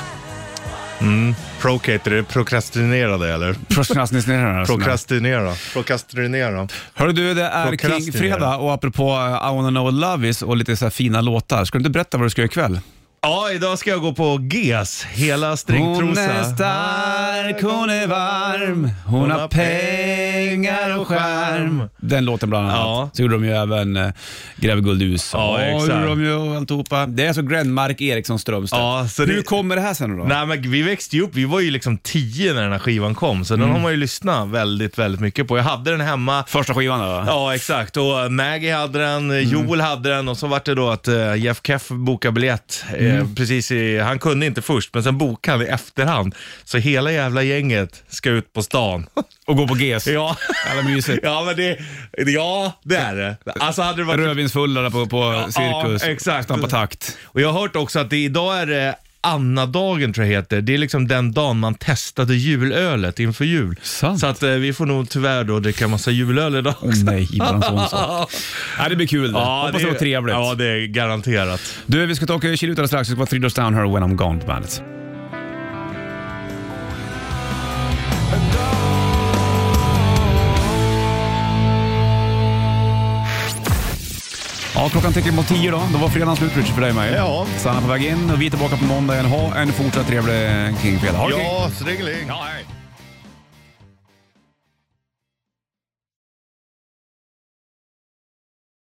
S3: Procate, är det prokrastinerade eller?
S2: Procrastination.
S3: Prokrastinera. Prokrastinera.
S2: Hörru du, det är
S3: Prokrastinera.
S2: King Fredag och apropå eh, I wanna know what love is och lite så här fina låtar. Ska du inte berätta vad du ska göra ikväll?
S3: Ja, idag ska jag gå på GES, hela
S2: Hon
S3: stringtrosa.
S2: är stark, hon är varm, hon har pengar och skärm. Den låten bland annat.
S3: Ja.
S2: Så gjorde de ju även äh, Gräver guld i USA.
S3: Ja, exakt.
S2: gjorde de ju och alltihopa. Det är alltså Grenmark Eriksson Strömstedt.
S3: Ja, så
S2: Hur
S3: det-
S2: kommer det här sen då?
S3: Nej men vi växte ju upp, vi var ju liksom tio när den här skivan kom, så
S2: Mm.
S3: den har man ju lyssnat väldigt, väldigt mycket på. Jag hade den hemma,
S2: Första skivan då? va?
S3: Ja, exakt. Och eh, Maggie hade den, eh,
S2: Mm.
S3: Joel hade den och så var det då att eh, Jeff Keff bokade biljett. eh,
S2: Mm.
S3: Precis i, han kunde inte först, men sen bokade han i efterhand. Så hela jävla gänget ska ut på stan. [LAUGHS]
S2: Och gå på GES.
S3: ja.
S2: Jävla mysigt.
S3: ja, men det, ja, det är det. Alltså hade det varit...
S2: Rödvinsfulla där på, på cirkus.
S3: exakt.
S2: Stampa takt.
S3: Och jag har hört också att det, idag är det Anna-dagen tror jag heter. Det är liksom den dagen man testade julölet inför jul.
S2: Sant.
S3: Så att eh, vi får nog tyvärr då dricka massa julöl idag också.
S2: Nej, ibland sån
S3: [LAUGHS]
S2: sak. Nej, det blir kul. Ja,
S3: Ja,
S2: Hoppas det var trevligt.
S3: Ja, det är garanterat.
S2: Du, vi ska ta och kila ut alldeles strax. Det ska vara Three Doors Down här och When I'm Gone på bandet. Ja, klockan tickar mot tio då. Då var fredagen slut Richard för dig med.
S3: Ja.
S2: Sanna på väg in och vi är tillbaka på måndag igen. Ha en fortsatt trevlig Kingfredag. Ha det kul.
S3: Ja, stringeling.
S2: Ja, hej.